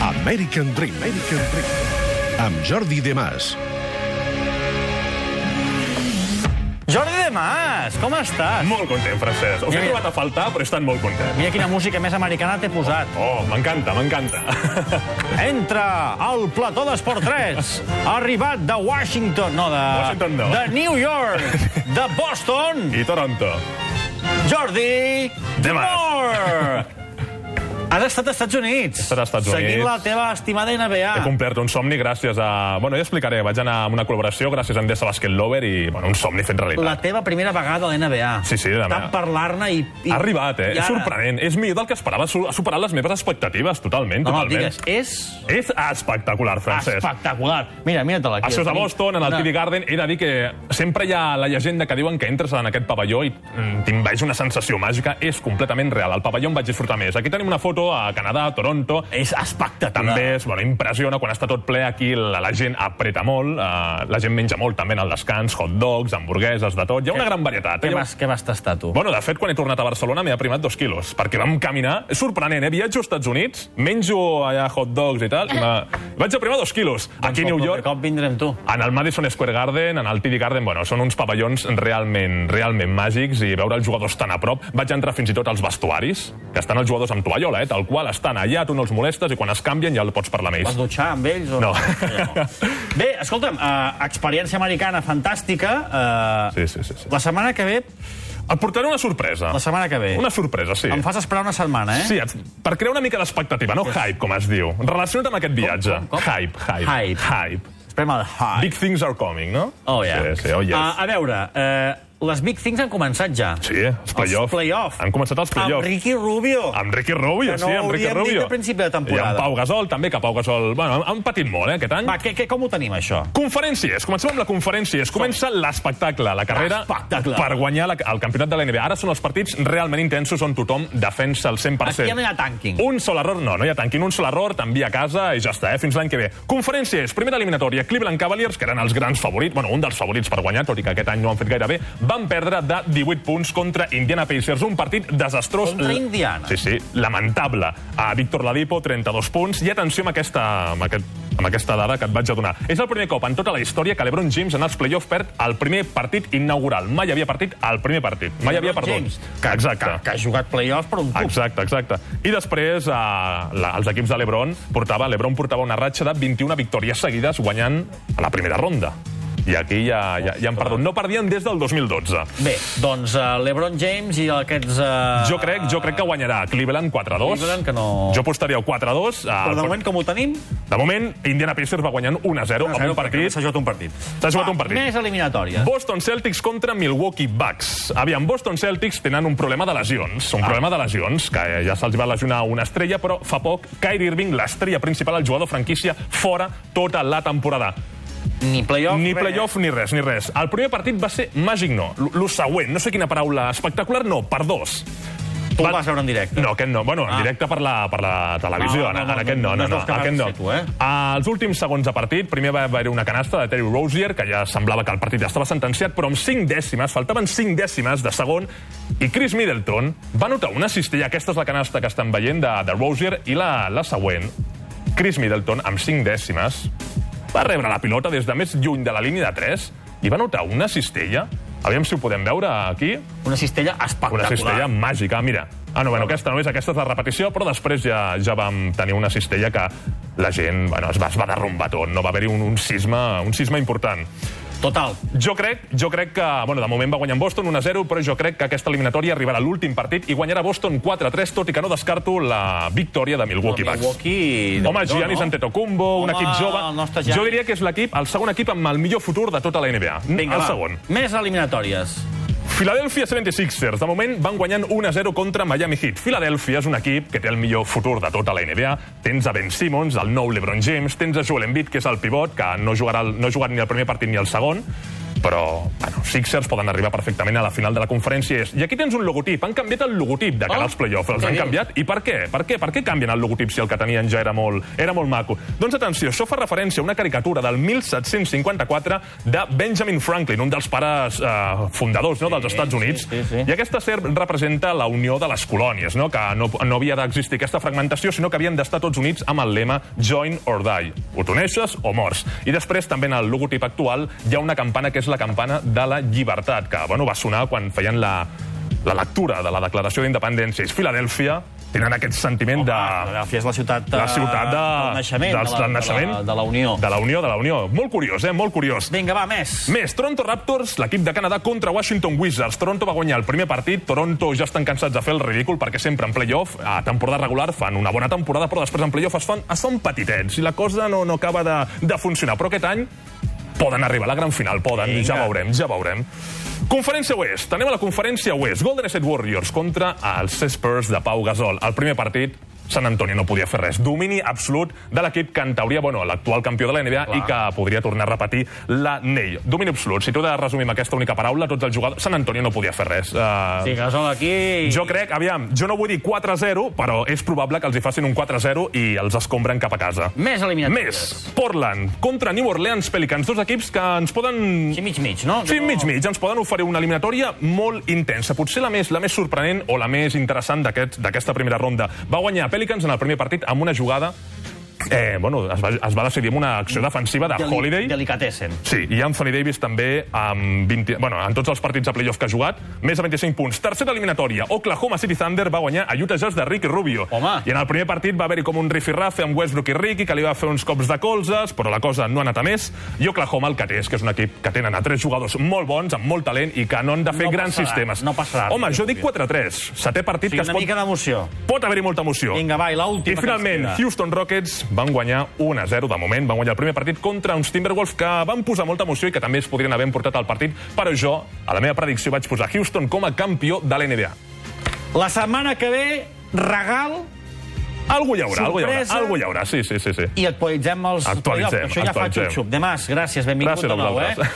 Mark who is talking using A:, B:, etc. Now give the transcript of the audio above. A: American Dream. American Dream. Amb Jordi De Mas.
B: Jordi de Mas, com estàs?
C: Molt content, Francesc. Us he
B: Mira.
C: trobat a faltar, però estan molt contents.
B: Mira quina música més americana t'he posat.
C: Oh, m'encanta, m'encanta.
B: Entra al plató d'Esport 3. Ha arribat de Washington, no, de...
C: Washington no.
B: De New York, de Boston,
C: I Toronto.
B: Jordi...
C: De Mas.
B: Moore. Has estat als Estats Units.
C: estat als Estats
B: Seguint
C: Units.
B: la teva estimada NBA.
C: He complert un somni gràcies a... Bueno, ja explicaré, vaig anar amb una col·laboració gràcies a Endesa Basket Lover i, bueno, un somni fet realitat.
B: La teva primera vegada a la NBA.
C: Sí, sí, la
B: Tant
C: meva.
B: parlar-ne i, i...
C: Ha arribat, eh?
B: i
C: És
B: ara-
C: sorprenent. És millor del que esperava. Su- Ha superat les meves expectatives, totalment.
B: No, no,
C: totalment.
B: digues, és...
C: És espectacular, Francesc.
B: Espectacular. Mira, mira-te-la. aquí.
C: Això és a
B: Tenim
C: Boston, en el
B: una-
C: TD Garden. He de dir que sempre hi ha la llegenda que diuen que entres en aquest pavelló i mm, t'invaeix una sensació màgica. És completament real. Al pavelló em vaig disfrutar més. Aquí tenim una foto a Canadà, a Toronto.
B: És espectacular.
C: També és, bueno, impressiona quan està tot ple aquí, la, la gent apreta molt, eh, la gent menja molt també en el descans, hot dogs, hamburgueses, de tot. Hi ha una gran varietat.
B: Què
C: Eh?
B: vas, què vas tastar, tu?
C: Bueno, de fet, quan he tornat a Barcelona m'he aprimat dos quilos, perquè vam caminar. És sorprenent, eh? Viatjo als Estats Units, menjo allà hot dogs i tal, i me- vaig aprimar dos quilos. Aquí a New
B: Doncs,
C: York,
B: De cop vindrem tu.
C: en el Madison Square Garden, en el TD Garden, bueno, són uns pavellons realment, realment màgics i veure els jugadors tan a prop. Vaig entrar fins i tot als vestuaris, que estan els jugadors amb tovallola, eh, tal qual, estan allà, tu no els molestes i quan es canvien ja el pots parlar amb
B: Vas
C: ells.
B: dutxar amb ells? O...
C: No.
B: Bé, escolta'm, uh, experiència americana fantàstica. Uh,
C: Sí, sí, sí, sí.
B: La setmana que ve,
C: Et portaré una sorpresa.
B: la setmana que ve,
C: Una sorpresa, sí.
B: em fas esperar una setmana, eh?
C: Sí, et... per crear una mica d'expectativa, no hype, com es diu. Relaciona't amb aquest viatge.
B: com, com?
C: Hype, hype,
B: Hype.
C: hype.
B: Esperem el high.
C: Big things are coming, no?
B: Oh, yeah.
C: Sí, sí, oh, yes.
B: uh, a veure, uh, les Big Things han començat ja.
C: Sí, els play-off.
B: Els play-off.
C: Han començat els
B: Amb
C: play-off.
B: Ricky Rubio.
C: Amb Ricky Rubio,
B: Que no
C: sí,
B: ho
C: amb Ricky
B: havíem dit
C: Rubio.
B: a principi de temporada.
C: I amb Pau Gasol, també, que Pau Gasol... Bueno, han- han patit molt, eh, aquest any.
B: Va, què, què, com ho tenim, això?
C: Conferències. Comencem amb la conferència. Es comença l'espectacle, la carrera
B: L'espectacle.
C: per guanyar la, el campionat de la NBA. Ara són els partits realment intensos on tothom defensa el 100%.
B: Aquí ja no hi ha tanking.
C: Un sol error, no, no hi ha tanquin. Un sol error, t'envia a casa i ja està, eh? fins l'any que ve. Conferències, primera eliminatòria. Cleveland Cavaliers, que eren els grans favorits, bueno, un dels favorits per guanyar, tot i que aquest any no ho han fet gaire bé, van perdre de 18 punts contra Indiana Pacers. Un partit desastrós.
B: Contra Indiana.
C: Sí, sí, lamentable. A Víctor Ladipo, 32 punts. I atenció amb aquesta, amb aquest, amb aquesta dada que et vaig a donar. És el primer cop en tota la història que l'Ebron James en els play-off perd el primer partit inaugural. Mai havia partit al primer partit. Mai havia
B: LeBron
C: perdut.
B: James,
C: Exacte.
B: Que, que ha jugat play-off per un tub.
C: Exacte, exacte. I després eh, la, els equips de l'Ebron portava, l'Ebron portava una ratxa de 21 victòries seguides guanyant a la primera ronda. I aquí ja, ja, ja han perdut. No perdien des del 2012.
B: Bé, doncs uh, LeBron James i aquests... Uh,
C: Jo crec, jo crec que guanyarà Cleveland 4-2.
B: Cleveland que no-
C: Jo apostaria al 4-2. eh,
B: Però de moment com ho tenim?
C: de moment, Indiana Pacers va guanyant 1-0 amb un partit.
B: S'ha jugat un partit.
C: S'ha jugat
B: Va,
C: un partit.
B: Més eliminatòries.
C: Boston Celtics contra Milwaukee Bucks. Aviam, Boston Celtics tenen un problema de lesions, un problema de lesions, que eh, ja se'ls va lesionar una estrella, però fa poc Kyrie Irving, l'estrella principal, el jugador franquícia, fora tota la temporada.
B: Ni playoff.
C: Ni
B: res.
C: playoff ni res, ni res. El primer partit va ser màgic, no. L- Lo següent, no sé quina paraula, espectacular, no, per dos.
B: Tu
C: Va-
B: el vas veure en directe.
C: No, aquest no. Bueno, en
B: Ah.
C: directe per la, per la televisió.
B: Ah, no,
C: en,
B: no,
C: en aquest no,
B: no
C: no,
B: és
C: no.
B: dels que
C: aquest no.
B: vas fer tu, eh?
C: Als últims segons de partit, primer va haver-hi una canasta de Terry Rozier, que ja semblava que el partit ja estava sentenciat, però amb 5 dècimes, faltaven 5 dècimes de segon, i Chris Middleton va notar una cistella, aquesta és la canasta que estan veient de, de Rozier, i la, la següent, Chris Middleton, amb 5 dècimes, va rebre la pilota des de més lluny de la línia de 3 i va notar una cistella. Aviam si ho podem veure aquí.
B: Una cistella
C: Una
B: espectacular.
C: cistella màgica, mira. Ah, no, bueno, aquesta no és, aquesta és la repetició, però després ja ja vam tenir una cistella que la gent bueno, es, va, es va derrumbar tot, no va haver-hi un, un, sisme, un sisme important.
B: Total.
C: Jo crec, jo crec que, bueno, de moment va guanyar en Boston 1-0, però jo crec que aquesta eliminatòria arribarà a l'últim partit i guanyarà Boston 4-3, tot i que no descarto la victòria de Milwaukee Bucks.
B: Milwaukee...
C: Home,
B: Déu-n'hi-do,
C: Giannis
B: no?
C: Antetokounmpo, un
B: Home,
C: equip
B: el nostre
C: jove.
B: Giannis.
C: Jo diria que és l'equip, el segon equip amb el millor futur de tota la NBA.
B: Vinga,
C: el
B: va.
C: segon.
B: Més eliminatòries.
C: Philadelphia 76ers, de moment, van guanyant 1-0 contra Miami Heat. Philadelphia és un equip que té el millor futur de tota la NBA. Tens a Ben Simmons, el nou LeBron James, tens a Joel Embiid, que és el pivot, que no jugarà el- no ha jugat ni el primer partit ni el segon, però, bueno, Sixers poden arribar perfectament a la final de la conferència. i és- I aquí tens un logotip. Han canviat el logotip de cara
D: Oh,
C: als play-offs. Els
D: què
C: han
D: dius?
C: canviat. I per què? Per què? Per què canvien el logotip si el que tenien ja era molt, era molt maco? Doncs atenció, això fa referència a una caricatura del 1754 de Benjamin Franklin, un dels pares eh, fundadors no, dels Estats Units.
D: sí, sí.
C: I aquesta serp representa la unió de les colònies, no? que no, no havia d'existir aquesta fragmentació, sinó que havien d'estar tots units amb el lema Join or Die. O t'uneixes o mors. I després, també en el logotip actual, hi ha una campana que és la campana de la llibertat, que bueno, va sonar quan feien la, la lectura de la Declaració d'Independència. És Filadèlfia, tenen aquest sentiment de...
B: Filadèlfia Ah, és la ciutat de...
C: La ciutat de...
B: del naixement, de,
C: dels-
B: la,
C: del naixement.
B: De, la, de la Unió.
C: De la Unió, de la Unió. Molt curiós, eh? Molt curiós.
B: Vinga, va, més.
C: Més, Toronto Raptors, l'equip de Canadà contra Washington Wizards. Toronto va guanyar el primer partit, Toronto ja estan cansats de fer el ridícul perquè sempre en playoff, a temporada regular, fan una bona temporada, però després en playoff es fan, es fan petitets i la cosa no, no acaba de, de funcionar. Però aquest any poden arribar a la gran final, poden, Vinga. ja veurem, ja veurem. Conferència Oest. Anem a la conferència Oest. Golden State Warriors contra els Spurs de Pau Gasol. El primer partit, Sant Antoni no podia fer res. Domini absolut de l'equip que en teoria, bueno, l'actual campió de la NBA i que Eh, podria tornar a repetir la Ney. Domini absolut. Si tu de resumir amb aquesta única paraula, tots els jugadors... Sant Antoni no podia fer res. Uh,
B: Sí, Gasol aquí...
C: jo crec, aviam, jo no vull dir 4-0, però és probable que els hi facin un 4-0 i els escombren cap a casa.
B: Més eliminatòries.
C: Més, Portland contra New Orleans Pelicans, dos equips que ens poden...
B: Sí, mig-mig, no?
C: Sí, mig-mig. Ens poden oferir una eliminatòria molt intensa. Potser la més, la més sorprenent o la més interessant d'aquest- d'aquesta primera ronda. Va guanyar Pelicans en el primer partit amb una jugada... Eh, bueno, es va, es va decidir amb una acció defensiva de
B: Deli-
C: Holiday.
B: Delicatessen.
C: Sí, i Anthony Davis també amb 20, bueno, en tots els partits de playoff que ha jugat, més de 25 punts. Tercera eliminatòria, Oklahoma City Thunder va guanyar a Utah Jazz de Ricky Rubio.
B: Home.
C: I en el primer partit va haver-hi com un rifirrafe amb Westbrook i Ricky, que li va fer uns cops de colzes, però la cosa no ha anat a més. I Oklahoma el que té és que és un equip que tenen a tres jugadors molt bons, amb molt talent, i que no han de fer
B: No
C: grans
B: passarà,
C: sistemes.
B: no passarà,
C: Home,
B: Ricky
C: jo dic 4-3. Setè partit
B: Sí,
C: que es
B: una
C: pot...
B: mica d'emoció.
C: Pot haver-hi molta emoció.
B: Vinga, va, i l'última
C: I finalment,
B: que ens queda.
C: Houston Rockets van guanyar 1 a 0 de moment. Van guanyar el primer partit contra uns Timberwolves que van posar molta emoció i que també es podrien haver emportat al partit, però jo, a la meva predicció, vaig posar Houston com a campió de la NBA.
B: La setmana que ve, regal
C: Algú hi haurà, algú hi haurà,
B: Sorpresa.
C: algú hi haurà, sí, sí, sí. sí.
B: i actualitzem els
C: Actualitzem,
B: playoffs. Això ja fa
C: actualitzem.
B: xup-xup. De Mas, gràcies, benvingut
C: Gràcies a
B: de nou. Eh?
C: vosaltres.